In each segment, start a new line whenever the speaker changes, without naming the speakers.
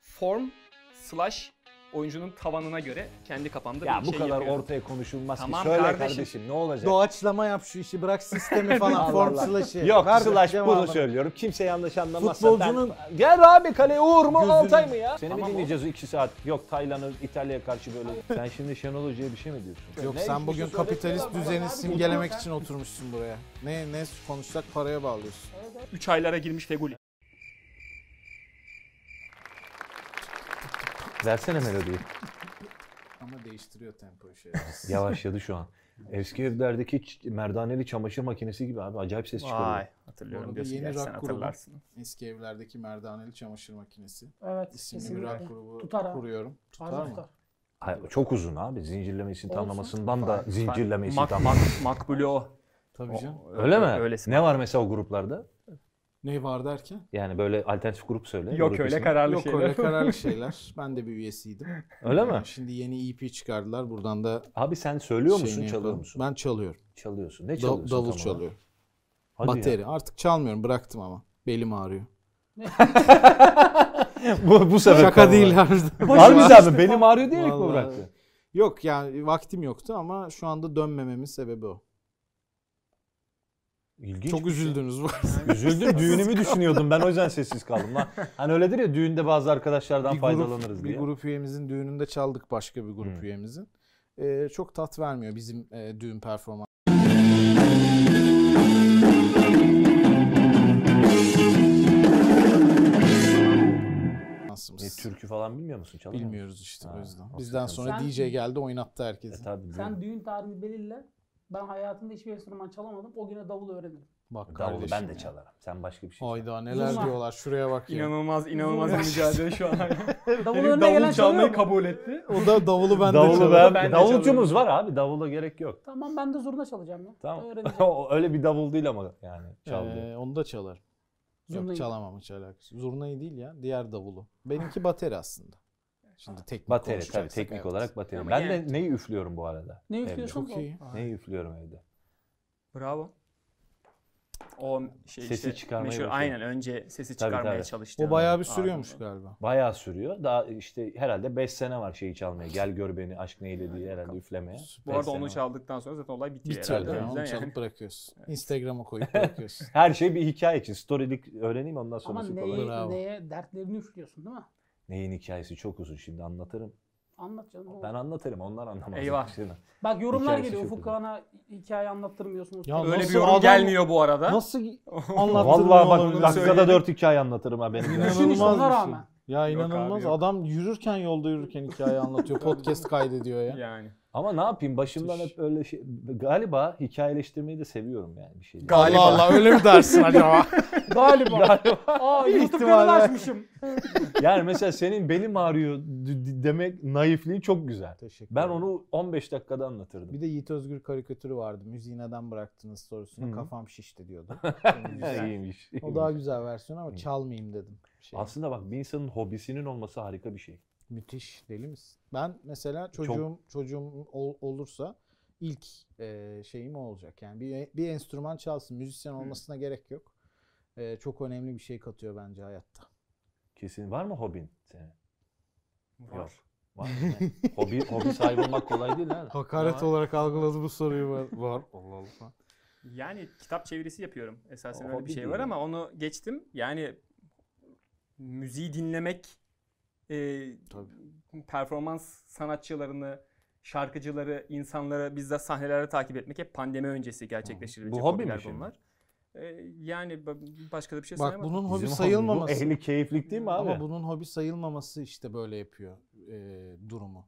form slash oyuncunun tavanına göre kendi kafamda
Ya
bir
bu
şey
kadar
yapıyorum.
ortaya konuşulmaz
Tamam
ki. Söyle
kardeşim.
kardeşim, ne olacak?
Doğaçlama yap şu işi bırak sistemi falan
Allah
form
Allah.
slash'i.
Yok
Ver
slash
cevabını.
bunu söylüyorum. Kimse yanlış anlamazsa
Futbolcunun-
ben... Gel abi kaleye Uğur mu
Gözünü-
Altay mı ya? Seni
Tamam
mi
oğlum.
dinleyeceğiz o iki saat? Yok Taylan'ı İtalya'ya karşı böyle. sen şimdi Şenol Hoca'ya bir şey mi diyorsun?
Yok
Ne
sen
hiçbir
bugün
şey
kapitalist
söylemiyorlar.
düzeni
Abi,
simgelemek için oturmuşsun buraya. Ne ne konuşsak paraya bağlıyorsun.
3 aylara girmiş Feguli.
Versene melodiyi.
Ama değiştiriyor tempoyu şey.
Yavaşladı şu an. Eski evlerdeki ç- merdaneli çamaşır makinesi gibi abi acayip ses çıkarıyor.
Vay
Bu
hatırlıyorum
arada
diyorsun
yeni
gerçi
rock
sen
grubu.
hatırlarsın.
Eski evlerdeki merdaneli çamaşır makinesi.
Evet.
İsimli bir rock grubu
Tutar ha.
kuruyorum.
Harbi tutar.
Hayır, çok uzun abi. Zincirleme isimtanlamasından da zincirleme
Mak,
isimtanlaması.
mak, Makbule o.
Tabii canım.
Öyle mi?
Öylesi.
Ne var mesela o gruplarda?
Ne var derken?
Yani böyle alternatif grup söyle.
Yok
grup
öyle
ismi.
kararlı
Yok
şeyler.
öyle kararlı şeyler. Ben de bir üyesiydim.
Öyle mi?
Yani Şimdi yeni EP çıkardılar. Buradan da
Abi sen söylüyor musun,
şeyini
çalıyor
yapalım.
musun?
Ben çalıyorum.
Çalıyorsun. Ne
Da-
çalıyorsun? tam
davul
olarak?
çalıyorum.
Hadi ya.
Bateri. Artık çalmıyorum. Bıraktım ama. Belim ağrıyor.
bu, bu sefer
Şaka değil harbiden.
Harbiden mi? Benim ağrıyor diye mi
Vallahi.
bıraktı?
Yok yani vaktim yoktu ama şu anda dönmememin sebebi o.
İlginç.
Çok üzüldünüz bu arada.
Üzüldüm düğünümü düşünüyordum ben o yüzden sessiz kaldım lan. Hani öyledir ya düğünde bazı arkadaşlardan faydalanırız
grup,
diye.
Bir grup üyemizin düğününde çaldık başka bir grup
Hmm.
üyemizin. Ee, çok tat vermiyor bizim e, düğün performansı.
E, türkü falan bilmiyor musun? Çalıyor musun?
Bilmiyoruz işte
Ha,
o yüzden.
o
Bizden
sıkıntı.
sonra
Sen-
DJ geldi oynattı herkesi.
E, tabii.
Sen düğün tarihini belirle. Ben hayatımda hiçbir enstrüman çalamadım. O güne davul öğrenirim.
Bak
Davulu
kardeşim.
ben de çalarım. Sen başka bir şey çal.
Hayda neler
Zurna.
diyorlar şuraya bak ya.
İnanılmaz, inanılmaz bir mücadele şu an.
Davul
Herif
önüne gelen
davul
şey
çalıyor
çalmayı
mu?
kabul etti.
O da davulu ben de
Davulu
çalıyorum.
ben,
Ben de
davulcumuz var abi. Davula gerek yok.
Tamam ben de zurna çalacağım ya.
Tamam.
Öğreneceğim.
O Öyle bir davul değil ama yani çaldı.
Ee, onu da çalarım. Yok
Zurnayı.
çalamam hiç alakası. Zurnayı değil ya diğer davulu. Benimki bateri aslında. Şimdi teknik
bateri tabii
konuşacaksak,
teknik
evet.
olarak bateri.
Ama
ben
yani-
de neyi üflüyorum bu arada?
Ne
Evde.
üflüyorsun?
Çok iyi.
Neyi üflüyorum evde?
Bravo. O şey
Sesi
işte
çıkarmayı
meşhur,
başardı.
aynen önce sesi
Tabii,
çıkarmaya
tabii.
çalıştı.
O bayağı bir
Ağzını.
sürüyormuş galiba.
Bayağı sürüyor. Daha işte herhalde 5 sene var şeyi çalmaya. Gel gör beni aşk neyle diye herhalde üflemeye.
Bu
Beş
arada
sene
onu
var.
çaldıktan sonra zaten olay bitiyor,
Bitiyor
herhalde.
değil mi?
O
Onu
yüzden
çalıp
yani.
bırakıyorsun. Instagram'a koyup bırakıyorsun.
Her şey bir hikaye için. Storylik öğreneyim ondan
Ama
sonrası kolay.
neye,
Bravo.
neye dertlerini üflüyorsun değil mi?
Neyin hikayesi çok uzun şimdi anlatırım.
Anlat canım. oğlum.
Ben anlatırım onlar anlamaz. şey
Eyvah.
Şimdi.
Bak yorumlar
Hikayesi
geliyor.
çok
Ufuk
güzel.
Kağan'a hikaye anlattırmıyorsunuz.
Ya
Öyle bir
Nasıl
yorum
adam-
gelmiyor bu arada.
Nasıl anlattın
Vallahi
oğlum?
bak dakikada
söyleyeyim.
dört hikaye anlatırım ha benim.
İnanılmaz
yani.
Düşün işte, ona rağmen.
Ya
Yok abi,
inanılmaz.
yok.
Adam yürürken yolda yürürken hikaye anlatıyor. Podcast kaydediyor ya.
Yani.
Ama ne yapayım başımdan
Müthiş.
hep öyle şey. Galiba hikayeleştirmeyi de seviyorum yani bir şey.
Galiba.
Allah Allah öyle mi dersin acaba?
Galiba. Aa YouTube
ihtimalle.
kanalı açmışım.
Yani mesela senin belim ağrıyor d- d- demek naifliği çok güzel.
Teşekkür
Ben
ederim.
onu 15 dakikada anlatırdım.
Bir de Yiğit Özgür karikatürü vardı. Müziği neden bıraktınız sorusuna
Hı.
kafam şişti diyordu.
Ha,
Güzel.
iyiymiş,
o
iyiymiş.
daha güzel versiyon ama
Hı.
çalmayayım dedim. Şey,
Aslında bak bir insanın hobisinin olması harika bir şey.
müthiş deli misin? Ben mesela çocuğum çocuğum ol- olursa ilk e, şeyim o olacak. Yani bir, bir enstrüman çalsın. Müzisyen olmasına gerek yok. E, çok önemli bir şey katıyor bence hayatta.
Kesin var mı hobin senin?
Var.
Var. hobi hobi sahibi olmak kolay değil ha.
Hakaret
Var.
olarak algıladı bu soruyu var. var. Allah Allah.
Yani kitap çevirisi yapıyorum. Esasen
O
öyle bir
hobi
şey
değil
var
mi?
ama onu geçtim. Yani müziği dinlemek, e, performans sanatçılarını, şarkıcıları, insanları bizzat sahnelerde takip etmek hep pandemi öncesi gerçekleştirilecek
Bu hobi mi
hobiler
şimdi?
bunlar. E, yani ba- başka da bir şey
Bak
söylemem.
bunun
Bizim
hobi
hobi- bu
sayılmaması.
Ehli keyiflik değil mi abi?
Ama bunun hobi sayılmaması işte böyle yapıyor e, durumu.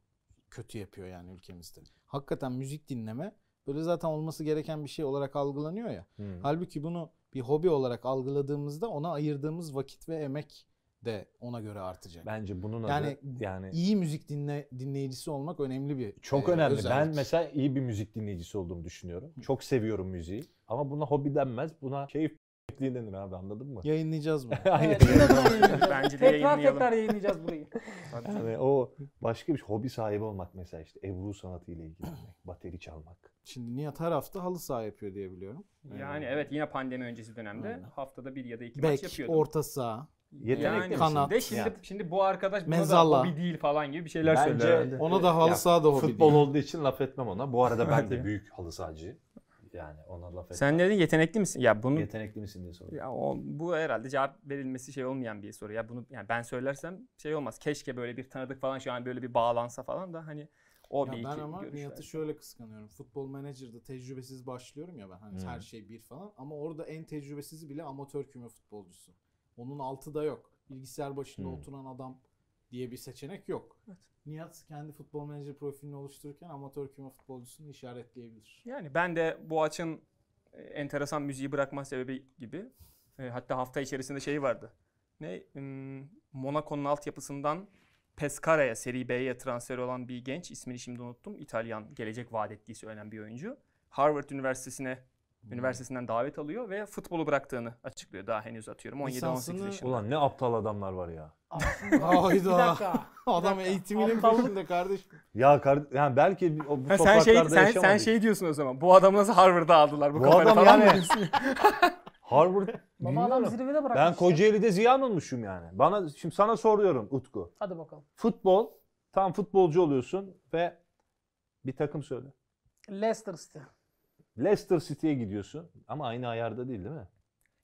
Kötü yapıyor yani ülkemizde. Hakikaten müzik dinleme böyle zaten olması gereken bir şey olarak algılanıyor ya.
Hı.
Halbuki bunu bir hobi olarak algıladığımızda ona ayırdığımız vakit ve emek de ona göre artacak.
Bence bunun
Yani-
adı yani
İyi müzik dinle dinleyicisi olmak önemli bir
çok
e,
önemli. Ben
özellik.
mesela iyi bir müzik dinleyicisi olduğumu düşünüyorum. Çok seviyorum müziği. Ama buna hobi denmez. Buna keyif denir abi anladın mı?
yayınlayacağız bunu.
Hayır.
Evet, yine bunu yayınlayacağız.
Bence de
tekrar
yayınlayalım.
tekrar yayınlayacağız burayı.
Yani hani o başka bir şey. hobi sahibi olmak mesela işte Ebru sanatıyla ilgilenmek, bateri çalmak.
Şimdi Nihat her hafta halı saha yapıyor diye biliyorum.
Yani evet yine pandemi öncesi dönemde
Aynen.
haftada bir ya da iki maç
Bek,
yapıyordum.
orta saha.
Yetenek
yani
de şey.
kanat.
de şimdi
Yani.
şimdi bu arkadaş buna
Mezalla.
da hobi değil falan gibi bir şeyler
Bence-
söylüyor herhalde.
Ona da halı
Ya,
sahada hobi
Futbol
değil.
olduğu için laf etmem ona. Bu arada ben de
Hadi.
büyük halı sahacıyım. Yani ona laf etmem.
Sen dedin yetenekli misin? Ya bunu
Yetenekli misin diye soruyor.
ya o- bu herhalde cevap verilmesi şey olmayan bir soru. Ya bunu yani ben söylersem şey olmaz. Keşke böyle bir tanıdık falan şu an böyle bir bağlansa falan da hani o bir
Ya
iki
ben ama
görüş
Nihat'ı
versin.
şöyle kıskanıyorum. Futbol Manager'da tecrübesiz başlıyorum ya ben. Hani
Hı.
her şey bir falan. Ama orada en tecrübesizi bile amatör küme futbolcusu. Onun altı da yok. Bilgisayar başında
Hı.
oturan adam diye bir seçenek yok. Nihat kendi futbol menajer profilini oluştururken amatör küme futbolcusunu işaretleyebilir.
Yani ben de bu açın e, enteresan müziği bırakma sebebi gibi. e, hatta hafta içerisinde şey vardı. Ne? Hmm, Monaco'nun altyapısından Pescara'ya, Serie B'ye transfer olan bir genç. ismini şimdi unuttum. İtalyan gelecek vaat ettiği söylenen bir oyuncu. Harvard Üniversitesi'ne
Hmm.
üniversitesinden davet alıyor ve futbolu bıraktığını açıklıyor. Daha henüz atıyorum 17-18
Lisansını-
yaşında.
Ulan ne aptal adamlar var ya.
Aslında- bir
Hmm. Hayda.
dakika.
Adam
dakika.
eğitiminin
Aptallık-
peşinde kardeşim.
Ya kar- yani belki bir- o, bu
Ha, sen
topraklarda
şey sen, sen
yaşamadık.
şey diyorsun o zaman. Bu adamı nasıl Harvard'a aldılar bu,
Bu
kafayla
adam
falan
yani-
diyorsun.
Harvard
Baba adam
bilmiyorum.
zirvede bırakmış.
Ben
ya.
Kocaeli'de ziyan olmuşum yani. Bana şimdi sana soruyorum Utku.
Hadi bakalım.
Futbol tam futbolcu oluyorsun ve bir takım söyle.
Leicester City.
Leicester City'ye gidiyorsun ama aynı ayarda değil değil mi?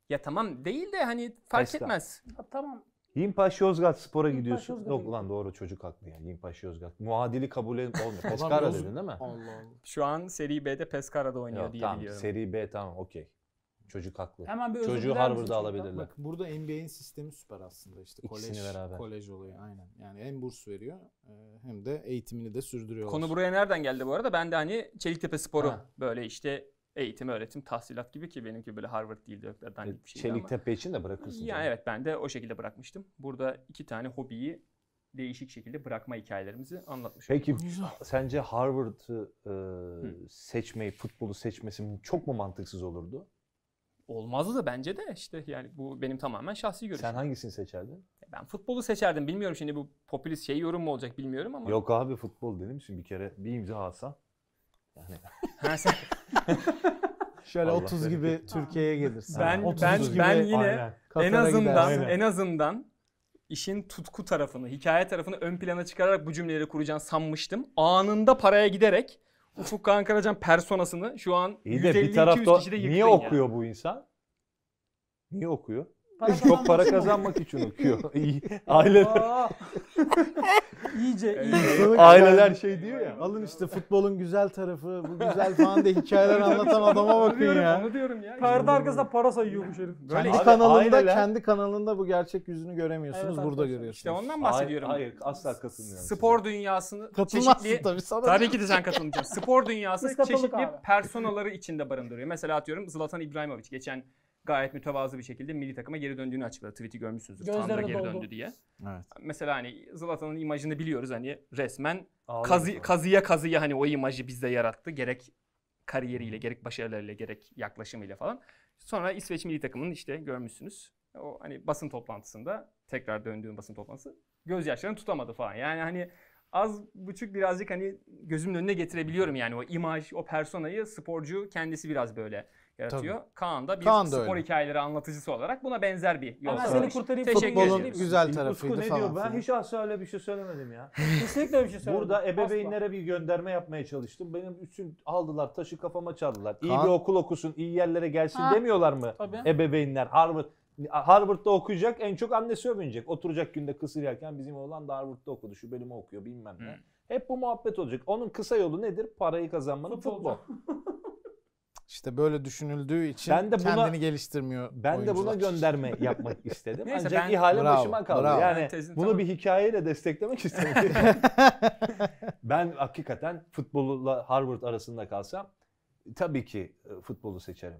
Ya tamam değil de hani fark
Pescara.
etmez.
Ha, tamam.
Yimpaş Yozgat Spor'a
Yimpaş
gidiyorsun.
Yozgat'a
Yok
gidiyor.
lan doğru çocuk haklı yani. Yimpaş Yozgat. Muadili kabul edip olmuyor.
Adam
Pescara
Yozgat-
dedin değil mi?
Allah Allah.
Şu an Serie B'de Pescara'da oynuyor
Yok,
diye
tamam
biliyorum.
seri B tamam okey. Çocuk haklı.
Hemen bir özür
Çocuğu
diler misin
Harvard'a
çocuktan?
alabilirler.
Bak burada NBA'in sistemi süper aslında işte kolej
İkisini beraber.
kolej oluyor aynen. Yani hem burs veriyor e, hem de eğitimini de sürdürüyorlar.
Konu buraya nereden geldi bu arada? Ben de hani Çeliktepe Sporu
Ha.
böyle işte eğitim, öğretim, tahsilat gibi ki benimki böyle Harvard değil Dökler'den gibi hani bir şeydi ama.
Çeliktepe için de bırakırsın.
Ya
canım.
evet ben de o şekilde bırakmıştım. Burada iki tane hobiyi değişik şekilde bırakma hikayelerimizi anlatmış.
Peki
Güzel.
sence Harvard'ı e, seçmeyi, futbolu seçmesi çok mu mantıksız olurdu?
Olmazdı da bence de işte yani bu benim tamamen şahsi görüşüm. E,
Sen hangisini seçerdin?
Ben futbolu seçerdim. Bilmiyorum şimdi bu popülist şey yorum mu olacak bilmiyorum ama.
Yok abi futbol dedim şimdi bir kere bir imza alsan.
Ha, sen-
Şöyle
Allah
30 gibi
bereket.
Türkiye'ye gelirsin.
Ben-
30
ben-
gibi
ben yine- en
Katar'a
azından
gidersin.
en azından işin tutku tarafını, hikaye tarafını ön plana çıkararak bu cümleleri kuracağını sanmıştım. Anında paraya giderek Ufuk Kağan Karacan personasını şu an
İyi de bir
150-200
tarafta
kişide yıktın
niye
ya.
okuyor bu insan? Niye okuyor?
Para
Çok para
kazanmak
kazanmak için okuyor. İyi. Aile,
için mi? Aa.
Ee,
İyice iyice.
Sana
aileler
güzel-
şey diyor ya.
Alın işte futbolun güzel tarafı, bu güzel falan diye hikayeler anlatan adama
Onu
bakın
diyorum,
ya.
Onu diyorum ya.
Perde arkasında para sayıyormuş herif.
Böyle
Kendi
Abi,
kanalında
aileler-
kendi kanalında bu gerçek yüzünü göremiyorsunuz,
Evet
burada
arkadaşlar,
görüyorsunuz.
İşte ondan bahsediyorum.
Hayır, asla katılmıyorum. size.
Spor dünyasını
Katılmazsın
çeşitli
tabii sana.
Tabii ki de sen katılacaksın. Spor dünyası
Biz katıldık
çeşitli
abi.
personaları içinde barındırıyor. Mesela atıyorum Zlatan İbrahimovic geçen gayet mütevazı bir şekilde milli takıma geri döndüğünü açıkladı. Tweet'i görmüşsünüzdür.
Gözleri
Tanrı
de
geri
doldu.
döndü diye.
Evet.
Mesela hani Zlatan'ın imajını biliyoruz hani resmen
Ağlarım
kazı,
sana.
kazıya kazıya hani o imajı bizde yarattı. Gerek kariyeriyle, gerek başarılarıyla, gerek yaklaşımıyla falan. Sonra İsveç milli takımının işte görmüşsünüz. O hani basın toplantısında tekrar döndüğüm basın toplantısı gözyaşlarını tutamadı falan. Yani hani az buçuk birazcık hani gözümün önüne getirebiliyorum yani o imaj, o personayı sporcu kendisi biraz böyle yaratıyor. Kaan da bir
Kaan da
spor
öyle.
hikayeleri anlatıcısı olarak buna benzer bir yol
Hemen
Yok,
seni
yok.
sağlamış.
kurtarayım.
Teşekkür
Futbolun
Futbolun
ederim.
güzel
Utku
tarafıydı
ne
falan.
diyor? Ben
filan.
hiç asla öyle bir şey söylemedim ya.
Kesinlikle öyle bir şey söylemedim.
Burada
Asla.
ebeveynlere bir gönderme yapmaya çalıştım. Benim üstün aldılar, taşı kafama çaldılar. İyi
Kaan-
bir okul okusun, iyi yerlere gelsin
Ha.
demiyorlar mı?
Tabii.
Ebeveynler Harvard Harvard'da okuyacak, en çok annesi övünecek. Oturacak günde kısır yerken bizim oğlan da Harvard'da okudu, şu bölümü okuyor bilmem ne.
Hı.
Hep bu muhabbet olacak. Onun kısa yolu nedir? Parayı kazanmanın
Futbolcu.
futbol.
İşte böyle düşünüldüğü için
Ben de buna-
kendini geliştirmiyor
Ben de buna
oyuncular.
gönderme yapmak istedim.
Neyse,
Ancak
ben-
ihale
Bravo,
başıma kaldı.
bravo.
Yani
Ben tezini
bunu
tamam.
bir hikayeyle desteklemek istedim. ben hakikaten futbolla Harvard arasında kalsam tabii ki e, futbolu seçerim.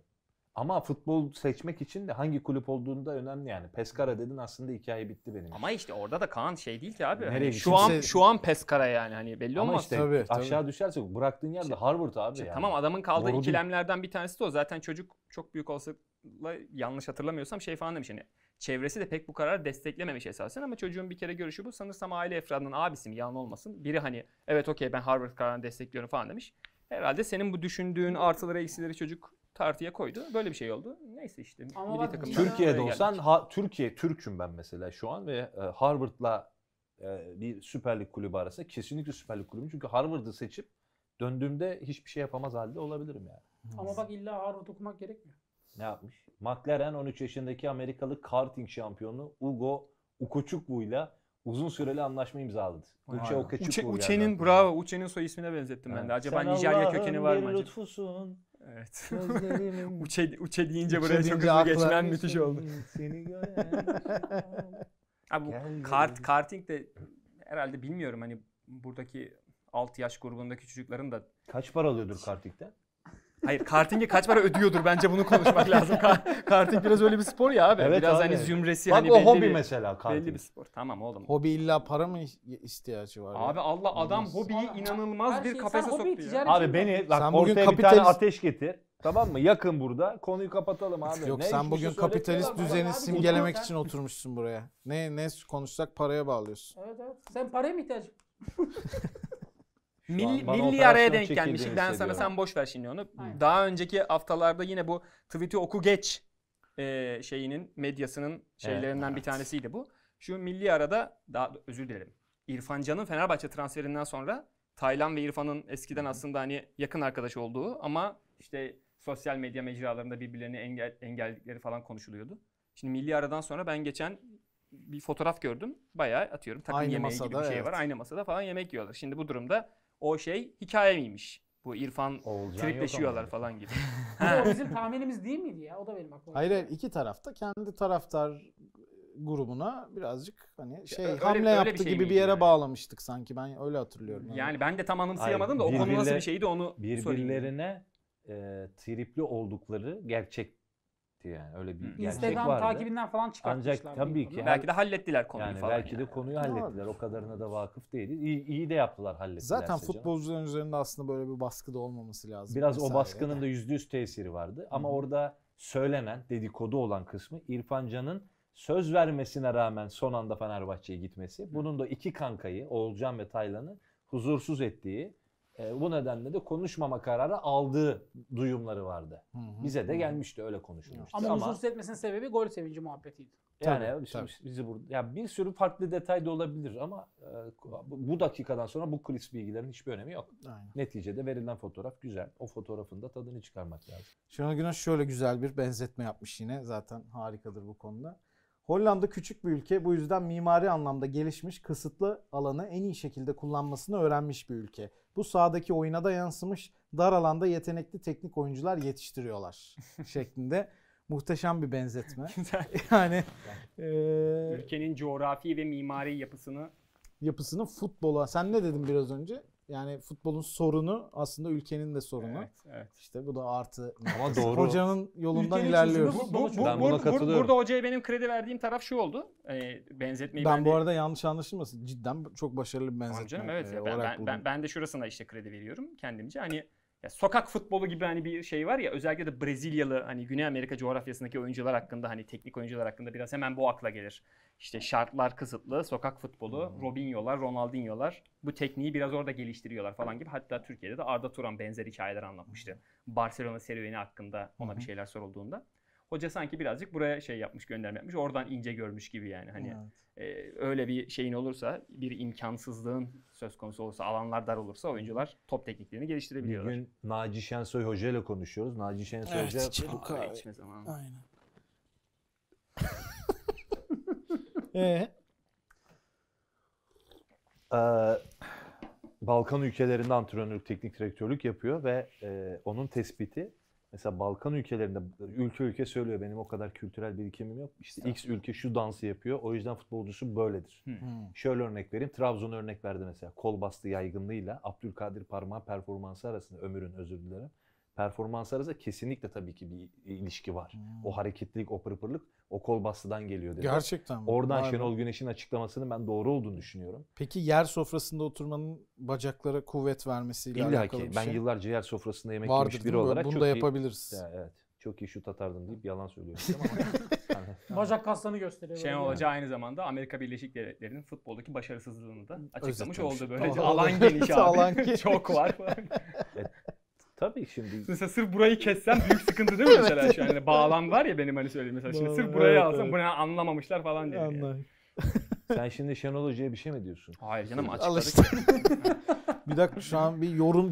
Ama futbol seçmek için de hangi kulüp olduğunda önemli yani. Pescara dedin aslında hikaye bitti benim. için.
Ama işte orada da Kaan şey değil ki abi.
Nereye
Hani şu
gideceksin?
an şu an Peskara yani hani belli
Ama
olmaz.
işte
Tabii, tabii.
aşağı düşerse bıraktığın yerde Harvard abi
İşte Şey,
yani.
Tamam adamın kaldığı
Doğru değil.
ikilemlerden bir tanesi de o. Zaten çocuk çok büyük olasılıkla yanlış hatırlamıyorsam şey falan demiş hani çevresi de pek bu kararı desteklememiş esasen ama çocuğun bir kere görüşü bu. Sanırsam aile efradının abisi mi yalan olmasın. Biri hani evet okey ben Harvard kararını destekliyorum falan demiş. Herhalde senin bu düşündüğün artıları eksileri çocuk tartıya koydu. Böyle bir şey oldu. Neyse işte.
Ama
milli
bak
takımdan
dünya-
Türkiye'de
buraya
olsan
geldik.
ha- Türkiye Türk'üm ben mesela şu an ve e, Harvard'la e, bir Süper Lig kulübü arasında kesinlikle Süper Lig kulübü. Çünkü Harvard'ı seçip döndüğümde hiçbir şey yapamaz halde olabilirim yani.
Ama bak illa Harvard okumak gerekmiyor.
Ne yapmış? McLaren 13 yaşındaki Amerikalı karting şampiyonu Ugo Ukochukwu ile uzun süreli anlaşma imzaladı.
Vay
Uche
be.
Okochukwu
Uche-
geldi
Uche'nin
aklıma.
bravo. Uche'nin soy ismine benzettim ben de.
Evet.
Acaba
Sen
Nijerya
Allah'ın
kökeni var
bir
mı acaba?
lütfusun,
Evet.
gözlerimin
Uçe, uçe deyince
Uche
buraya çok
deyince
hızlı
akla-
geçmen müthiş
şey
oldu.
Seni gören.
Abi bu
Gel
kart,
gel.
karting de herhalde bilmiyorum hani buradaki 6 yaş grubundaki çocukların da
Kaç para alıyordur kartingden?
Hayır kartinge kaç para ödüyordur bence bunu konuşmak lazım. Ka- karting biraz öyle bir spor ya abi.
Evet
biraz
abi.
hani zümresi
Bak
hani
o hobi
bir,
mesela karting.
belli bir spor. Tamam oğlum.
Hobi illa para mı ihtiyacı var? ya?
Abi Allah adam
Olmaz.
hobiyi
Abi,
inanılmaz
her
bir
şey-
kafese
sen hobiyi
soktu ya.
ticaret-
Abi beni bak
Sen bugün
ortaya bir tane
kapitalist-
ateş getir. Tamam mı? Yakın burada. Konuyu kapatalım abi.
Yok
Ne
sen
hiçbir
bugün
şey
kapitalist
söylemiyorlar.
düzeni
abi,
simgelemek
sen-
için oturmuşsun buraya. Ne ne konuşsak paraya bağlıyorsun.
Evet evet. Sen paraya mı ihtiyacın?
Şu an
Milli,
bana
milli
operasyon
araya denk
çekildiğini
gelmiş. Ben sana
hissediyorum.
sen boş ver şimdi onu.
Aynen.
Daha önceki haftalarda yine bu tweet'i oku geç e, şeyinin medyasının şeylerinden bir tanesiydi bu. Şu milli arada daha özür dilerim. İrfan Can'ın Fenerbahçe transferinden sonra Taylan ve İrfan'ın eskiden aslında hani yakın arkadaş olduğu ama işte sosyal medya mecralarında birbirlerini engel, engelledikleri falan konuşuluyordu. Şimdi milli aradan sonra ben geçen bir fotoğraf gördüm. Bayağı atıyorum takım
Aynı
yemeği gibi
masada,
bir şey var.
evet.
Aynı masada falan yemek yiyorlar. Şimdi bu durumda o şey hikaye miymiş? Bu İrfan
Oğulcan yok ama
tripleşiyorlar
yani.
falan gibi.
Bir de o bizim tahminimiz değil miydi ya? O da benim aklıma.
Hayır
geldi.
hayır iki tarafta kendi taraftar grubuna birazcık hani şey
öyle-
hamle
öyle bir
yaptı
şey
gibi
miydi
bir yere
yani?
bağlamıştık sanki ben öyle hatırlıyorum.
Yani ben de tam anımsayamadım da o
Hayır,
konu nasıl
birbirle-
bir şeydi onu söyleyeyim.
Birbirlerine e, tripli oldukları gerçekti yani. Öyle bir
Hı.
gerçek
Instagram
vardı.
takibinden falan çıkartmışlar.
Ancak tabii ki
Belki de hallettiler konuyu
yani
falan.
belki de
yani.
konuyu
Ne
hallettiler.
var?
O kadarına da vakıf değiliz. İyi, iyi de yaptılar hallettiler.
Zaten futbolcuların üzerinde aslında böyle bir baskı da olmaması lazım.
Biraz
vesaire.
o baskının da yüzde yüz tesiri vardı. Ama
Hı hı.
orada söylenen, dedikodu olan kısmı İrfan Can'ın söz vermesine rağmen son anda Fenerbahçe'ye gitmesi. Bunun da iki kankayı, Oğulcan ve Taylan'ı huzursuz ettiği, e, bu nedenle de konuşmama kararı aldığı duyumları vardı.
Hı hı,
Bize
hı
de
hı.
gelmişti, öyle konuşulmuştu.
Ama,
Ama,
huzursuz etmesinin sebebi gol sevinci muhabbetiydi.
yani
Tabii,
biz-
tabii.
bizi burada, ya bir sürü farklı detay da olabilir ama e, bu bu dakikadan sonra bu kulis bilgilerin hiçbir önemi yok.
Aynen.
Neticede verilen fotoğraf güzel. O fotoğrafın da tadını çıkarmak lazım.
Şenol Güneş şöyle güzel bir benzetme yapmış yine. Zaten harikadır bu konuda. Hollanda küçük bir ülke. Bu yüzden mimari anlamda gelişmiş, kısıtlı alanı en iyi şekilde kullanmasını öğrenmiş bir ülke. Bu sahadaki oyuna da yansımış. Dar alanda yetenekli teknik oyuncular yetiştiriyorlar şeklinde muhteşem bir benzetme. Yani e, eee,
Ülkenin coğrafi ve mimari yapısını
yapısının futbola. Sen ne dedin biraz önce? Yani futbolun sorunu aslında ülkenin de sorunu.
Evet, evet.
İşte bu da artı.
Ama doğru.
Hocanın yolundan
Ülkenin
ilerliyoruz.
çözümü
Bu, bu, bu,
Ben
bu-
buna
bu-
katılıyorum.
burada hocaya benim kredi verdiğim taraf şu oldu. Ee, benzetmeyi
Ben bu
de-
arada yanlış anlaşılmasın. Cidden çok başarılı bir
Tamam
benzetme.
canım evet
e,
ya ben,
olarak
ben,
buldum.
ben, ben de şurasına işte kredi veriyorum kendimce. Hani ya sokak futbolu gibi hani bir şey var ya özellikle de Brezilyalı hani Güney Amerika coğrafyasındaki oyuncular hakkında hani teknik oyuncular hakkında biraz hemen bu akla gelir. İşte şartlar kısıtlı, sokak futbolu,
Hmm.
Robinho'lar, Ronaldinho'lar bu tekniği biraz orada geliştiriyorlar falan gibi. Hatta Türkiye'de de Arda Turan benzer hikayeler anlatmıştı.
Hmm.
Barcelona serüveni hakkında ona bir şeyler sorulduğunda. Hoca sanki birazcık buraya şey yapmış, gönderme yapmış. Oradan ince görmüş gibi yani. Hani
Evet.
ee, öyle bir şeyin olursa, bir imkansızlığın söz konusu olursa, alanlar dar olursa oyuncular top tekniklerini
Bir
geliştirebiliyorlar.
gün Naci Şensoy Hoca ile konuşuyoruz. Naci Şensoy
Evet,
Hoca
içelim.
Aa,
kahve.
içme zamanı.
Aynen. Ee,
eee, e, Balkan ülkelerinde antrenörlük, teknik direktörlük yapıyor ve eee, onun tespiti mesela Balkan ülkelerinde ülke ülke söylüyor benim o kadar kültürel birikimim yok. İşte X ülke şu dansı yapıyor. O yüzden futbolcusu böyledir.
hmm.
Şöyle örnek vereyim. Trabzon'a örnek verdi mesela. Kol bastı yaygınlığıyla Abdülkadir Parmağı performansı arasında Ömür'ün özür dilerim. Performansı arasında kesinlikle tabii ki bir ilişki var.
Hmm.
O hareketlilik, o pırpırlık o kol bastıdan geliyor dedi.
Gerçekten mi?
Oradan
Vay be.
Şenol Güneş'in açıklamasının ben doğru olduğunu düşünüyorum.
Peki yer sofrasında oturmanın bacaklara kuvvet vermesiyle
İlla
alakalı
ki
bir
ben
şey
yıllarca yer sofrasında yemek
vardır
yemiş
değil
biri
mi?
olarak
Bunu
çok
da
iyi-
yapabiliriz.
Ya, evet. Çok iyi şut atardım deyip yalan söylüyorum ama yani
Bacak kaslarını gösteriyor.
Şey
böyle.
Şenol Hoca aynı zamanda Amerika Birleşik Devletleri'nin futboldaki başarısızlığını da açıklamış
Özetlemiş.
oldu. Böylece
Tamam.
alan geniş abi.
Alan geniş.
Çok var.
Tabii şimdi
Mesela sırf burayı kessem büyük sıkıntı değil mi mesela şu an? Yani bağlam var ya benim hani söylediğim mesela. Şimdi
Bağlam,
sırf burayı
evet,
alsam
evet.
bunu anlamamışlar falan diye. Yani.
Anladım.
sen şimdi Şenol Hoca'ya bir şey mi diyorsun?
Hayır canım
Al
açıkladık.
işte. bir dakika şu an bir yorum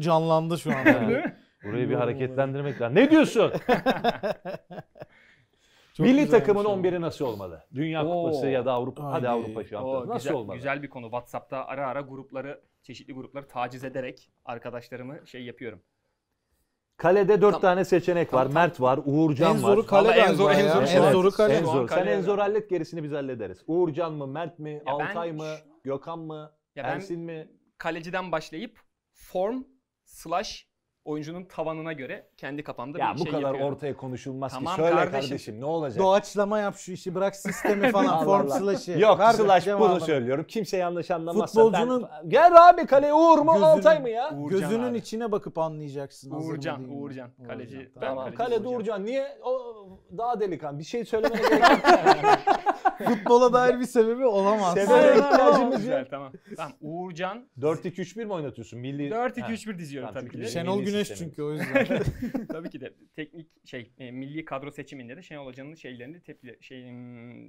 canlandı şu an.
Yani Burayı bir
Yorum
hareketlendirmek lazım. Ne diyorsun?
Çok
Milli
güzelmiş
takımın
ama.
11'i nasıl olmalı? Dünya
Oo.
Kupası ya da Avrupa hadi
Haydi.
Avrupa
Oo,
Şampiyonası nasıl
güzel,
olmalı?
güzel bir konu. WhatsApp'ta ara ara grupları, çeşitli grupları taciz ederek arkadaşlarımı şey yapıyorum.
Kalede 4
Tam-
tane seçenek var.
tam-
Mert var, Uğurcan
en
var.
zoru kale
Vallahi en
galiba
zor- şey en
ya.
zoru-
en
zoru kale.
En
Şu an
zor. Sen
kaleye-
en zor hallet gerisini biz hallederiz. Uğurcan mı, Mert mi,
ben-
Altay mı, Gökhan mı,
Ya ben
Ersin mi?
kaleciden başlayıp form slash oyuncunun tavanına göre kendi kafamda
Ya
bir
bu
şey
kadar
yapıyorum.
ortaya konuşulmaz
Tamam
ki. Söyle
kardeşim.
kardeşim, ne olacak?
Doğaçlama yap şu işi bırak sistemi
Allah
falan form
Allah.
slash'i.
Yok
Ver
slash bunu
cevabını.
söylüyorum. Kimse yanlış anlamazsa
Futbolcunun-
ben... Gel abi kaleye Uğur mu,
Gözünün-
Altay mı ya?
Uğurcan
Gözünün
abi.
içine bakıp anlayacaksın. hazır mı
Uğurcan,
değil mi?
Uğurcan. Kaleci- ben
tamam.
Tamam.
kaleci
Kale
Uğurcan.
Uğurcan. Niye? O daha delikan. Bir şey söylemene gerek yok.
Futbola dair bir sebebi olamaz.
Sebebe
Aynen,
ihtiyacımız yok.
Güzel tamam. Tamam Uğurcan
4-2-3-1 mi oynatıyorsun? Milli...
4-2-3-1 diziyorum
Tamam,
tabii ki
çünkü
de.
şey-
Şenol
Milli
Güneş
sistemi.
çünkü o yüzden.
tabii ki de teknik şey e, milli kadro seçiminde de Şenol Hoca'nın şeylerini tepki şey hmm,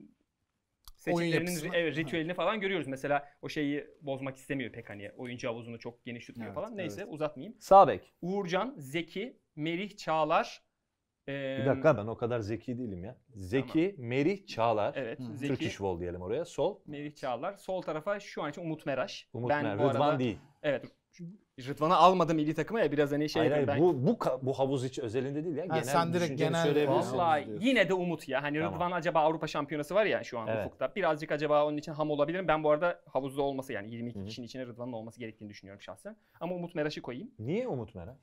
seçimlerinin
yapısını.
ri- evet, ritüelini falan görüyoruz. Mesela o şeyi bozmak istemiyor pek hani oyuncu havuzunu çok geniş tutmuyor
Evet,
falan. Neyse uzatmayayım.
Sağ bek.
Uğurcan, Zeki, Merih, Çağlar.
Bir dakika ben o kadar zeki değilim ya. Zeki, Merih, Çağlar.
Evet,
Hı.
Zeki.
Türk iş vol diyelim oraya. Sol.
Merih Çağlar. Sol tarafa şu an için Umut Meraş.
Umut
ben
Mer,
bu arada,
Rıdvan değil.
Evet. Rıdvan'ı almadım milli takıma ya biraz hani şey
hayır hayır
yapıyorum ben.
bu, bu, ka- bu havuz içi özelinde değil ya.
Ha,
genel
sen direkt
düşünceni
genel-
söyleyebilirsin.
Vallahi-
Vallahi
diyorsun.
yine de umut ya. Hani
Tamam.
Rıdvan acaba Avrupa Şampiyonası var ya şu an
Evet.
ufukta. Birazcık acaba onun için ham olabilirim. Ben bu arada havuzda olması yani 22
Hı hı.
kişinin içine Rıdvan'ın olması gerektiğini düşünüyorum şahsen. Ama Umut Meraş'ı koyayım. Ee,
Niye Umut Meral?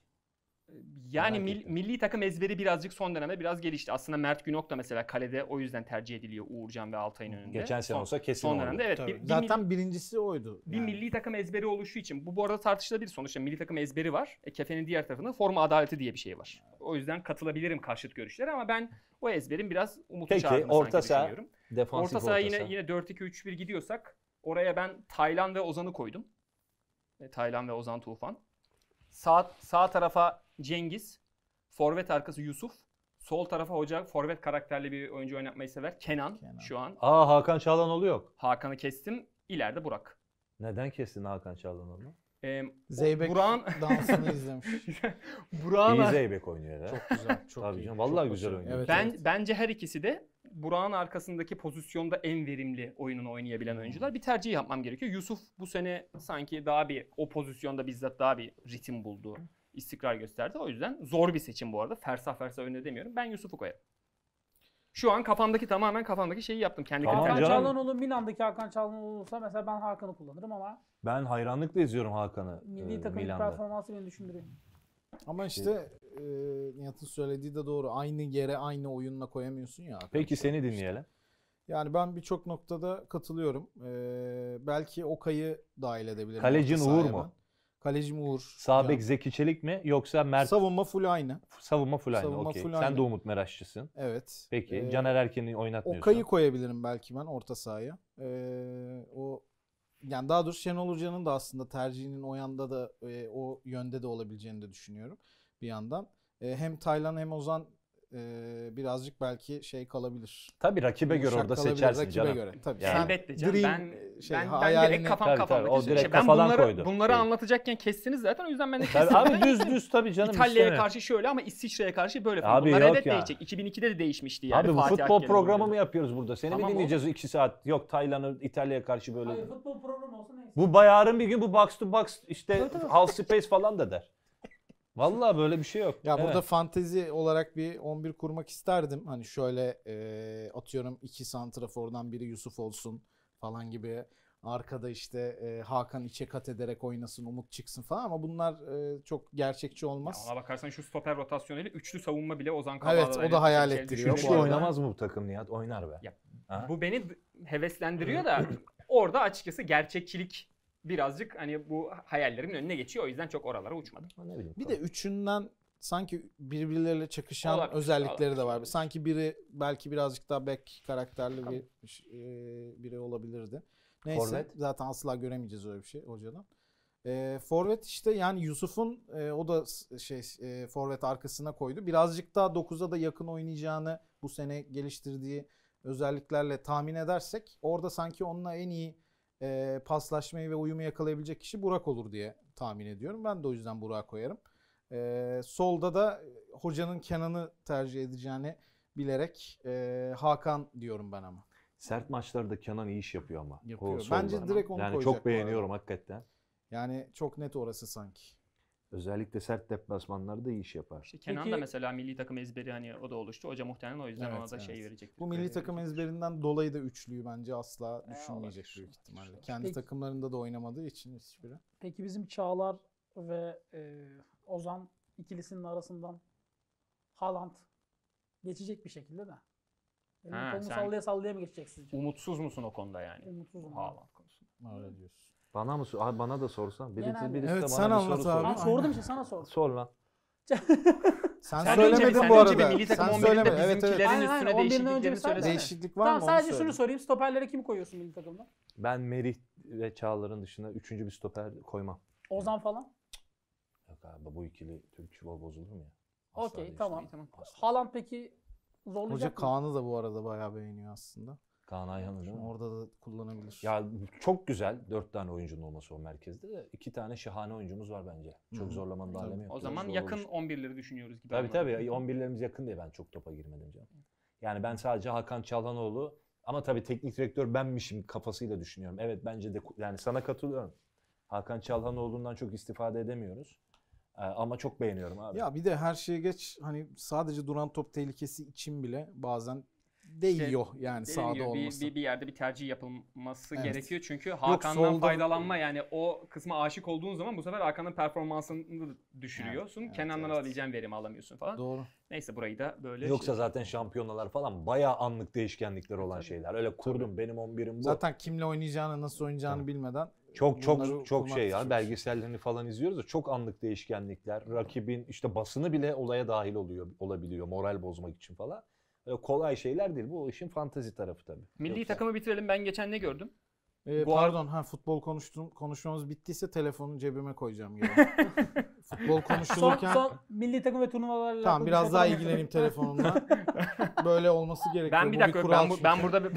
Yani
Merak
mil-
ettim.
milli takım ezberi birazcık son dönemde biraz gelişti. Aslında Mert Günok da mesela kalede o yüzden tercih ediliyor Uğurcan ve Altay'ın önünde.
Geçen sene
son,
olsa kesin
son
olurdu.
dönemde evet.
Tabii.
bir- bir mil-
Zaten birincisi oydu.
bir
yani.
milli takım ezberi oluşu için bu bu arada tartışılabilir sonuçta milli takım ezberi var. E, kefenin diğer tarafında forma adaleti diye bir şey var. O yüzden katılabilirim karşıt görüşlere ama ben o ezberin biraz umutu
Peki,
çağırdığını
orta
sanki
saha,
düşünüyorum.
Defansif
Orta saha yine yine 4-2-3-1 gidiyorsak oraya ben Taylan ve Ozan'ı koydum. E, Taylan ve Ozan Tufan. Sağ sağ tarafa Cengiz, forvet arkası Yusuf, sol tarafa hoca forvet karakterli bir oyuncu oynatmayı sever Kenan,
Kenan.
şu an.
Aa Hakan Çağlanoğlu yok.
Hakan'ı kestim. İleride Burak.
Neden kestin Hakan Çağlanoğlu?
E,
Zeybek
Burak'ın
dansını izlemiş.
Burak'ın
İyi
ar-
Zeybek oynuyor ya.
Çok güzel. Çok
Tabii
iyi.
canım, vallahi
Çok
güzel
başarılı.
oynuyor.
Evet,
Ben
evet.
bence her ikisi de Burak'ın arkasındaki pozisyonda en verimli oyununu oynayabilen oyuncular.
Hmm.
Bir tercih yapmam gerekiyor. Yusuf bu sene sanki daha bir o pozisyonda bizzat daha bir ritim buldu.
Hmm.
istikrar gösterdi. O yüzden zor bir seçim bu arada. Fersah fersah önüne demiyorum. Ben Yusuf'u koyarım. Şu an kafamdaki tamamen kafamdaki şeyi yaptım. Kendi
Tamam
kriterim-
Hakan
canım.
Çalhanoğlu Milan'daki Hakan Çalhanoğlu olsa mesela ben Hakan'ı kullanırım ama
Ben hayranlıkla izliyorum Hakan'ı
milli
e,
takım
Milan'da.
performansı beni düşündürüyor.
Ama
Şey-
işte e, Nihat'ın söylediği de doğru. Aynı yere aynı oyunla koyamıyorsun ya.
Peki seni dinleyelim.
Yani ben birçok noktada katılıyorum. Ee, belki Okay'ı dahil edebilirim.
Kalecin
orta sahaya
Uğur mu?
ben. Kalecim Uğur.
Sağ
Can.
bek Zeki Çelik mi yoksa Mert
Savunma full aynı.
savunma full aynı.
Savunma
okey.
full
Sen
aynı.
de Umut Meraşçısın.
Evet.
Peki
Ee,
Caner Erken'i oynatmıyorsun.
Okay'ı koyabilirim belki ben orta sahaya. Ee, o yani daha doğrusu Şenol Hoca'nın da aslında tercihinin o yanda da e, o yönde de olabileceğini de düşünüyorum bir yandan. E, hem Taylan hem Ozan e, birazcık belki şey kalabilir.
Tabii rakibe göre
Yumuşak
orada
kalabilir,
seçersin
rakibe
canım.
göre. Tabii.
Yani-
Sen
Elbette canım.
dream,
ben
e, şey,
ben, ben
hayalini-
direkt kafam
Tabii, tabii.
kafamdaki
O
şey.
direkt
İşte ben
kafadan
bunları,
koydu.
bunları
Evet.
anlatacakken kestiniz zaten o yüzden ben de kestim.
Tabii, abi düz düz tabii canım.
İtalya'ya
üstüne.
karşı şöyle ama İsviçre'ye karşı böyle falan.
Abi
Bunlar
yok
elbet
ya.
değişecek. 2002'de de değişmişti yani.
Abi bu
Fatih
futbol
Akkel'in
programı
oynadığı.
mı yapıyoruz burada? Seni
Tamam
mi
oğlum.
dinleyeceğiz 2 saat? Yok Taylan'ı İtalya'ya karşı böyle.
Hayır futbol programı olsa neyse.
Bu bayarın bir gün bu box to box işte
Tabii, tabii.
half space falan da der. Vallahi böyle bir şey yok.
Ya
Evet.
burada fantezi olarak bir 11 kurmak isterdim. Hani şöyle e, atıyorum iki santrafordan biri Yusuf olsun falan gibi. Arkada işte e, Hakan içe kat ederek oynasın, Umut çıksın falan ama bunlar e, çok gerçekçi
Ya
olmaz.
ona bakarsan şu stoper rotasyonuyla üçlü savunma bile Ozan Kabağ'da.
Evet, o da hayal ettiriyor
Üçlü
bu arada.
oynamaz mı bu takım Nihat? Oynar be.
Ya,
Ha?
Bu beni heveslendiriyor da orada açıkçası gerçekçilik birazcık hani bu hayallerimin önüne geçiyor. O yüzden çok oralara uçmadım.
Ne bileyim,
Bir de üçünden sanki birbirleriyle çakışan
Olabilir,
özellikleri de var.
olabilir.
Sanki biri belki birazcık daha back karakterli bir e, biri olabilirdi. Neyse
Forvet?
zaten asla göremeyeceğiz öyle bir şey hocadan. E, forvet işte yani Yusuf'un e, o da s- şey e, forvet arkasına koydu. Birazcık daha 9'a da yakın oynayacağını bu sene geliştirdiği özelliklerle tahmin edersek orada sanki onunla en iyi e, paslaşmayı ve uyumu yakalayabilecek kişi Burak olur diye tahmin ediyorum. Ben de o yüzden Burak'ı koyarım. E, solda da e, hocanın Kenan'ı tercih edeceğini bilerek e, Hakan diyorum ben ama.
Sert maçlarda Kenan iyi iş yapıyor ama. O
Yapıyor.
solda.
Bence direkt onu
yani
koyacak
çok
bu arada.
beğeniyorum hakikaten.
Yani çok net orası sanki.
Özellikle sert deplasmanlarda iyi iş yapar.
İşte Kenan da
Peki-
mesela milli takım ezberi hani o da oluştu. Hoca muhtemelen o yüzden
Evet,
ona da şey Ee,
evet.
verecek.
Bu milli takım ezberinden dolayı da üçlüyü bence asla
E,
düşünmeyecek
olabilir,
büyük
olabilir,
ihtimalle.
olabilir.
Kendi
Peki.
takımlarında da oynamadığı için hiçbiri.
Peki bizim Çağlar ve e, Ozan ikilisinin arasından Haaland geçecek bir şekilde de. Elini
Ha,
kolunu
sen-
sallaya sallaya mı geçecek sizce?
Umutsuz musun o konuda yani?
Hmm.
Umutsuzum.
Haaland konusunda.
Öyle diyorsun.
Bana mı sor? Abi bana da sorsan. Birisi,
Genelde.
birisi de
Evet,
bana
sen
bir
anlat
soru
abi.
Ben
sorsun.
sordum işte sana sordum.
Sor lan.
Sen,
Sen
söylemedin
önce bir, sen
bu
önce
arada.
bir milli takım
sen
11'inde
söylemedin. Evet
bizimkilerin
evet.
Aynen,
üstüne
aynen, 11'in
değişiklikleri
öncesi zaten.
söylesene.
Değişiklik var mı?
Tamam
Onu
sadece
söyle.
şunu sorayım. Stoperlere kimi koyuyorsun milli takımda?
Ben Merih ve Çağlar'ın dışında üçüncü bir stoper koymam.
Ozan falan.
Yok abi bu ikili Türk futbol bozulur mu ya? Asla
Okey
değiştirmem.
tamam.
Tamam.
Asla.
Haaland peki
Hoca
zorlayacak mı?
Kaan'ı da bu arada bayağı beğeniyor aslında.
Kaan Ayhan'ı değil mi?
Orada da kullanabilir.
Ya çok güzel dört tane oyuncunun olması o merkezde de iki tane şahane oyuncumuz var bence. Çok
Hı hı.
zorlamanın da
Tabii.
alemi yok.
O zaman
Doğru
yakın
olur.
11'leri düşünüyoruz gibi.
Tabii
anladım.
tabii 11'lerimiz yakın diye ben çok topa girmedim canım. Yani ben sadece Hakan Çalhanoğlu ama tabii teknik direktör benmişim kafasıyla düşünüyorum. Evet bence de yani sana katılıyorum. Hakan Çalhanoğlu'ndan çok istifade edemiyoruz. Ee, ama çok beğeniyorum abi.
Ya bir de her şeye geç hani sadece duran top tehlikesi için bile bazen değiyor yani
Dediğim
sahada
gibi bir,
olması.
bir, bir yerde bir tercih yapılması
Evet.
gerekiyor. Çünkü Hakan'dan
solda-
faydalanma yani o kısma aşık olduğun zaman bu sefer Hakan'ın performansını düşürüyorsun.
evet,
Kenan'dan
evet.
alabileceğin verimi alamıyorsun falan.
Doğru.
Neyse burayı da böyle
Yoksa
şey-
zaten şampiyonalar falan bayağı anlık değişkenlikler olan
Tabii.
şeyler. Öyle kurdum benim 11'im bu.
E Zaten kimle oynayacağını, nasıl oynayacağını
Tabii.
bilmeden
Çok
Bunları
çok çok
kurmak
şey ya
istiyoruz.
belgesellerini falan izliyoruz da çok anlık değişkenlikler. Rakibin işte basını bile olaya dahil oluyor olabiliyor moral bozmak için falan. Öyle kolay şeyler değil. Bu işin fantezi tarafı tabii.
Milli
Yoksa-
takımı bitirelim. Ben geçen ne gördüm?
Ee,
Bu ar-
pardon ha futbol konuştum konuşmamız bittiyse telefonu cebime koyacağım gene. futbol
Son,
konuşulurken
son milli takım ve turnuvalarla
tamam
alakalı bir
biraz
şey
daha
yapalım.
ilgileneyim telefonumla. Böyle olması gerekiyor.
Ben bir
Bu
dakika
kural
ben, bu-
çünkü.
ben burada bir-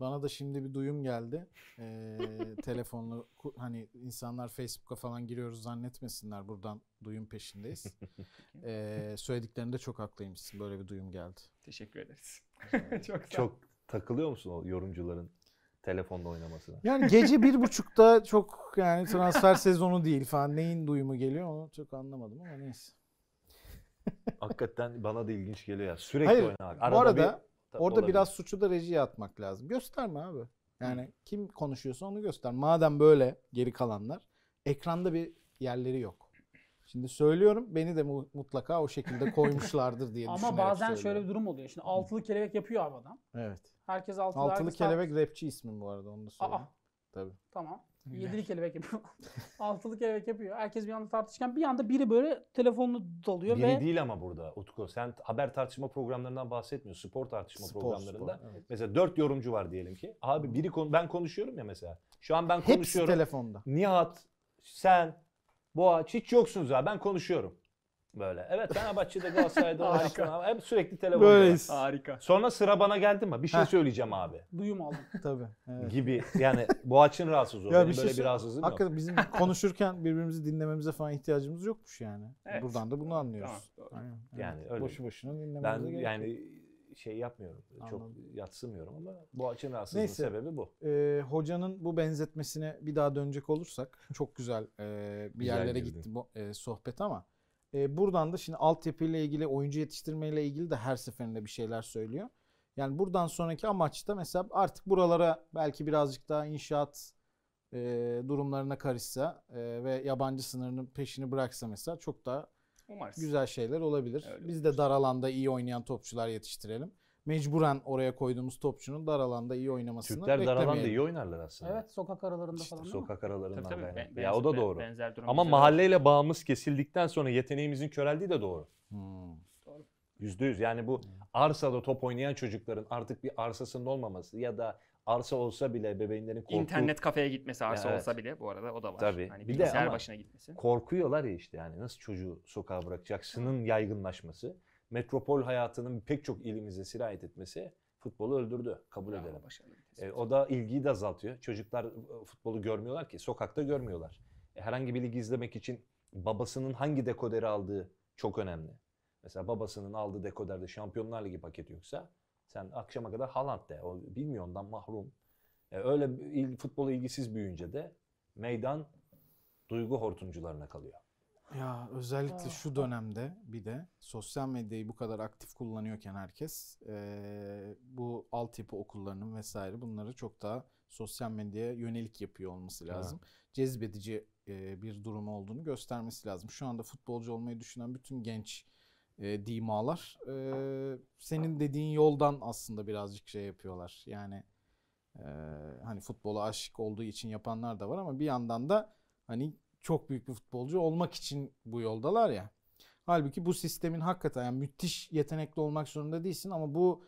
Bana da şimdi bir duyum geldi. Ee, telefonla ku- hani insanlar Facebook'a falan giriyoruz zannetmesinler. Buradan duyum peşindeyiz. Ee, söylediklerinde çok haklıymışsın. Böyle bir duyum geldi.
teşekkür ederiz. Çok sağ ol.
Çok takılıyor musun o yorumcuların telefonda oynamasına?
Yani gece bir buçukta çok yani transfer sezonu değil falan. Neyin duyumu geliyor onu çok anlamadım ama neyse.
Hakikaten bana da ilginç geliyor ya. Sürekli
Hayır,
oynamak.
Bu arada
bir-
Orada
olabilir.
biraz suçu da rejiye atmak lazım. Gösterme abi. Yani kim konuşuyorsa onu göster. Madem böyle geri kalanlar ekranda bir yerleri yok. Şimdi söylüyorum beni de mu- mutlaka o şekilde koymuşlardır diye
Ama
düşünerek
bazen şöyle
söylüyorum.
bir durum oluyor. Şimdi altılı kelebek yapıyor abi adam.
Evet.
Herkes altılı.
Altılı
herkes-
kelebek rapçi ismim bu arada onu da söyleyeyim.
Aa,
Tabii.
tamam.
Güzel.
Yedili kelebek yapıyor. altılı kelebek yapıyor. Herkes bir anda tartışırken bir anda biri böyle telefonunu dalıyor
Biri
ve
değil ama burada Utku. Sen haber tartışma programlarından bahsetmiyorsun. Spor tartışma programlarında.
spor, evet.
Mesela dört yorumcu var diyelim ki. Abi biri konu- ben konuşuyorum ya mesela. Şu an ben
Hepsi
konuşuyorum.
telefonda.
Nihat, sen, Boğaç hiç yoksunuz abi. Ben konuşuyorum. Böyle. Evet Fenerbahçe'de Galatasaray'da o yaptın abi. Hep sürekli telefonda.
Böyleyiz.
Harika.
Sonra sıra bana geldi mi? Bir şey
Heh.
söyleyeceğim abi.
duyum aldım.
Tabii. Evet.
Gibi. Yani Boğaç'ın rahatsız o.
Ya
Benim
bir şey
böyle bir
sor-
rahatsızlığım yok.
Hakikaten bizim konuşurken birbirimizi dinlememize falan ihtiyacımız yokmuş yani.
Evet.
Buradan da bunu anlıyoruz.
Tamam, doğru.
Aynen, evet.
Yani öyle.
Boşu boşuna
Ben
dinlememize gerek yok.
yani şey yapmıyorum. Çok
Anladım.
yatsımıyorum ama Boğaç'ın rahatsızlığının
Neyse.
sebebi bu.
e, hocanın bu benzetmesine bir daha dönecek olursak çok güzel e, bir
Güzel
yerlere
girdin.
gitti bu e, sohbet ama e, buradan da şimdi altyapıyla ilgili oyuncu yetiştirmeyle ilgili de her seferinde bir şeyler söylüyor. Yani buradan sonraki amaç da mesela artık buralara belki birazcık daha inşaat e, durumlarına karışsa e, ve yabancı sınırının peşini bıraksa mesela çok daha
Umarız.
güzel şeyler olabilir.
Öyle
Biz de dar alanda iyi oynayan topçular yetiştirelim. Mecburen oraya koyduğumuz topçunun dar alanda iyi oynamasını
Türkler dar alanda
beklemeyelim.
iyi oynarlar aslında.
Evet sokak aralarında
İşte
falan değil mi?
sokak
Tabii
aralarından
tabii.
kaynaklı.
ben-
Ya o
benzer-
da doğru.
Benzer durum
Ama
bize de
mahalleyle bağımız kesildikten sonra yeteneğimizin köreldiği de doğru.
Hmm.
Yüzde yüz. Yani bu arsada top oynayan çocukların artık bir arsasında olmaması ya da arsa olsa bile bebeğinlerin korku,
İnternet kafeye gitmesi arsa
Evet.
olsa bile bu arada o da var.
Tabii.
Hani
Bir de
bilgisayar
ama-
başına gitmesi.
korkuyorlar ya işte yani nasıl çocuğu sokağa bırakacaksının yaygınlaşması, metropol hayatının pek çok ilimize sirayet etmesi futbolu öldürdü kabul
Bravo,
edelim.
başarılı bir tespit.
E, o da ilgiyi de azaltıyor. Çocuklar e, futbolu görmüyorlar ki. Sokakta görmüyorlar. E, herhangi bir ligi izlemek için babasının hangi dekoderi aldığı çok önemli. Mesela babasının aldığı dekoderde Şampiyonlar Ligi paketi yoksa sen akşama kadar Haaland de. O bilmiyor ondan mahrum. E, öyle bir il, futbola ilgisiz büyüyünce de meydan duygu hortumcularına kalıyor.
Ya özellikle
Ah.
şu dönemde bir de sosyal medyayı bu kadar aktif kullanıyorken herkes eee, bu altyapı okullarının vesaire bunları çok daha sosyal medyaya yönelik yapıyor olması
Evet.
lazım. Cezbedici eee, bir durum olduğunu göstermesi lazım. Şu anda futbolcu olmayı düşünen bütün genç eee dimalar eee, senin dediğin yoldan aslında birazcık şey yapıyorlar. Yani eee, hani futbola aşık olduğu için yapanlar da var ama bir yandan da hani çok büyük bir futbolcu olmak için bu yoldalar ya. Halbuki bu sistemin hakikaten yani müthiş yetenekli olmak zorunda değilsin ama bu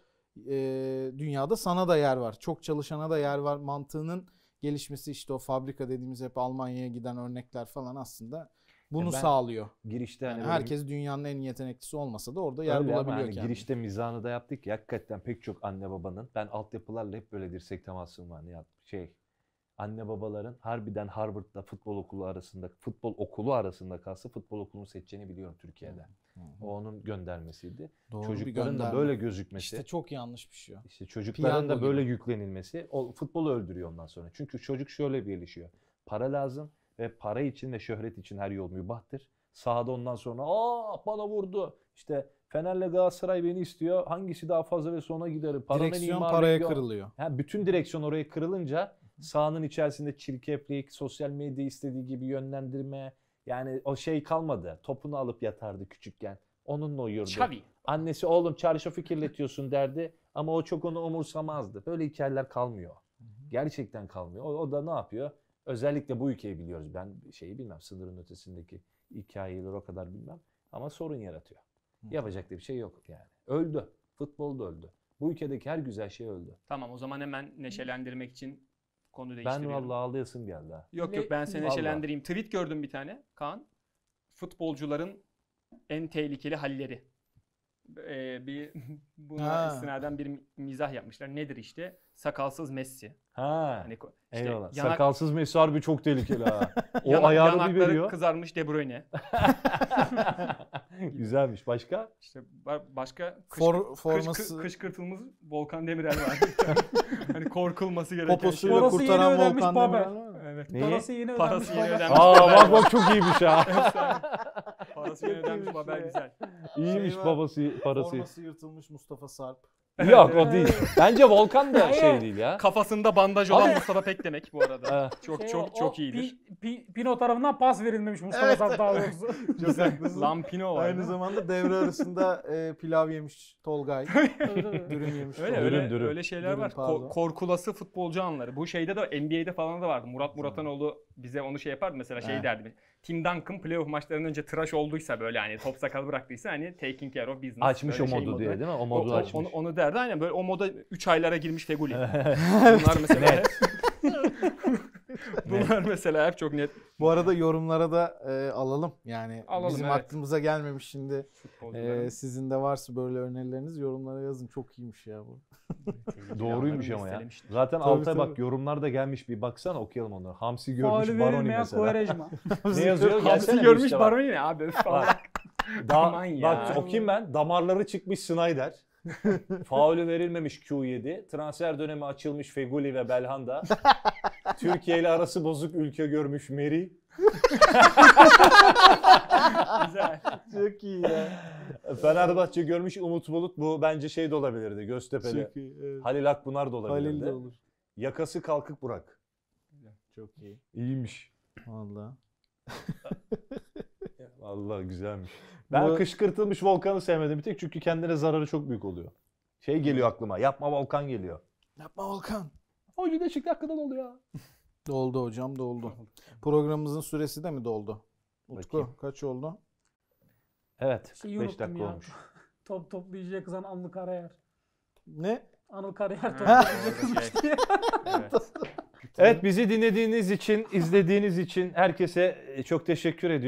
e, dünyada sana da yer var. Çok çalışana da yer var. Mantığının gelişmesi işte o fabrika dediğimiz hep Almanya'ya giden örnekler falan aslında bunu
E ben-
sağlıyor.
Girişte hani
Yani
böyle-
herkes dünyanın en iyi yeteneklisi olmasa da orada yer
Öyle ama
bulabiliyor
hani
kendini.
Girişte mizahını da yaptık ya hakikaten pek çok anne babanın ben altyapılarla hep böyle dirsek temasım var Nihat. Şey anne babaların harbiden Harvard'da futbol okulu arasında futbol okulu arasında kalsa futbol okulunu seçeceğini biliyorum Türkiye'de.
Hı hı.
O onun göndermesiydi.
Doğru bir
Çocukların da
gönderme.
böyle gözükmesi.
işte çok yanlış bir şey. o.
İşte çocukların da
Piyango
böyle
gibi.
yüklenilmesi o futbolu öldürüyor ondan sonra. Çünkü çocuk şöyle birleşiyor. Para lazım ve para için ve şöhret için her yol mübahtır. Sahada ondan sonra aa bana vurdu. İşte Fener'le Galatasaray beni istiyor. Hangisi daha fazla ve sona giderim. Paranın
Direksiyon
imarı
paraya
yok.
kırılıyor.
Ha, bütün direksiyon oraya kırılınca sahanın içerisinde çirkeflik, sosyal medya istediği gibi yönlendirme. Yani o şey kalmadı. Topunu alıp yatardı küçükken. Onunla uyurdu.
Xavi.
Annesi oğlum çarşafı kirletiyorsun derdi ama o çok onu umursamazdı. Böyle hikayeler kalmıyor. Gerçekten kalmıyor. O, o da ne yapıyor? Özellikle bu ülkeyi biliyoruz. Ben şeyi bilmem sınırın ötesindeki hikayeleri o kadar bilmem ama sorun yaratıyor.
Hı.
Yapacak da bir şey yok yani. Öldü. Futbol da öldü. Bu ülkedeki her güzel şey öldü.
Tamam o zaman hemen neşelendirmek için konu
Ben
değiştiriyorum.
vallahi ağlayasım geldi ha.
Yok yok ben seni
Vallahi.
neşelendireyim. Tweet gördüm bir tane Kaan. Futbolcuların en tehlikeli halleri. Ee, bir buna
Ha.
istinaden bir mizah yapmışlar. Nedir işte? Sakalsız Messi.
Ha.
Hani ko- işte
Eyvallah.
yanak-
Sakalsız Messi harbi çok tehlikeli ha. o
yana-
ayağını bir
yanakları
veriyor.
kızarmış De Bruyne.
Güzelmiş. Başka?
İşte ba- başka kışkı-
For-
kışkı-
forması-
kışkırtılmış Volkan Demirel var. hani korkulması gereken şey.
Poposuyla
Orası yeni
kurtaran
ödenmiş
Volkan
baba.
Demirel var.
Evet.
Neyi?
Parası yeni ödenmiş.
Parası yeni
baba.
ödenmiş.
Aa bak bak çok iyiymiş ha.
Parası yeni ödenmiş haber güzel.
İyiymiş
Şey var,
babası parası.
Forması yırtılmış Mustafa Sarp.
Yok o değil. Bence Volkan da şey
Hayır.
değil ya.
Kafasında bandaj olan
Abi-
Mustafa Pek demek bu arada.
Ee,
Çok
Şey,
çok
o
çok iyidir.
Pi, pi, Pino tarafından pas verilmemiş Mustafa
Evet,
Sarp daha
evet.
doğrusu.
Çok haklısın.
Lampino var.
Aynı
değil mi?
zamanda devre arasında e, pilav yemiş Tolgay.
Tabii, tabii.
Dürüm yemiş
Öyle
Tolgay.
öyle
Dürüm, dürüm.
öyle şeyler
Dürüm,
var. Ko-
pardon.
korkulası futbolcu anları. Bu şeyde de NBA'de falan da vardı. Murat Muratanoğlu bize onu şey yapardı mesela şey
He.
derdi. Tim Duncan playoff maçlarından önce tıraş olduysa böyle hani top sakal bıraktıysa hani taking care of business.
açmış o
böyle
modu
şey
diye değil mi? O
O-
modu
o-
açmış.
Onu, onu derdi aynen böyle o moda 3 aylara girmiş Feguli. Bunlar mesela hep, bunlar mesela hep çok net
Bu arada yorumlara da e, alalım. Yani
Alalım,
bizim
evet.
aklımıza gelmemiş şimdi.
Ee,
futbolcuların.
E, sizin de varsa böyle önerileriniz yorumlara yazın. Çok iyiymiş ya bu.
Doğruymuş ama ya. Zaten
Tabii,
alta bak
tabii.
yorumlar da gelmiş bir baksana okuyalım onları. Hamsi görmüş
Faulü
Baroni
verilmeyen
mesela.
Quaresma.
ne yazıyor? Gelsene
Hamsi
bir
görmüş
işte bak.
Baroni ne abi falan.
Da,
Aman ya.
bak okuyayım ben. Damarları çıkmış Snyder. Faulü verilmemiş Q7. Transfer dönemi açılmış Feguli ve Belhanda. Türkiye ile arası bozuk ülke görmüş Meri.
Güzel.
Çok iyi ya.
Fenerbahçe görmüş Umut Bulut. Bu bence şey de olabilirdi. Göztepe'li.
Çok iyi. Evet.
Halil Akpınar da
Şey, Halil
olabilirdi.
de olur.
Yakası kalkık Burak.
Çok iyi.
İyiymiş.
Vallahi.
Vallahi güzelmiş. Ben
Bu-
kışkırtılmış Volkan'ı sevmedim bir tek çünkü kendine zararı çok büyük oluyor. Şey geliyor aklıma. Yapma Volkan geliyor.
Yapma Volkan.
Oyuncu da çıktı hakikaten oluyor.
Doldu hocam doldu. Programımızın süresi de mi doldu? Utku
Bakayım.
kaç oldu?
Evet.
Şeyi
5
Şey unuttum
dakika
ya.
olmuş.
Top toplayıcıya kızan Anlı Karayar.
Ne?
Anıl Kariyer
Ha,
toplayacakmış
şey.
diye.
Evet.
e,
Evet bizi dinlediğiniz için, izlediğiniz için herkese çok teşekkür ediyorum.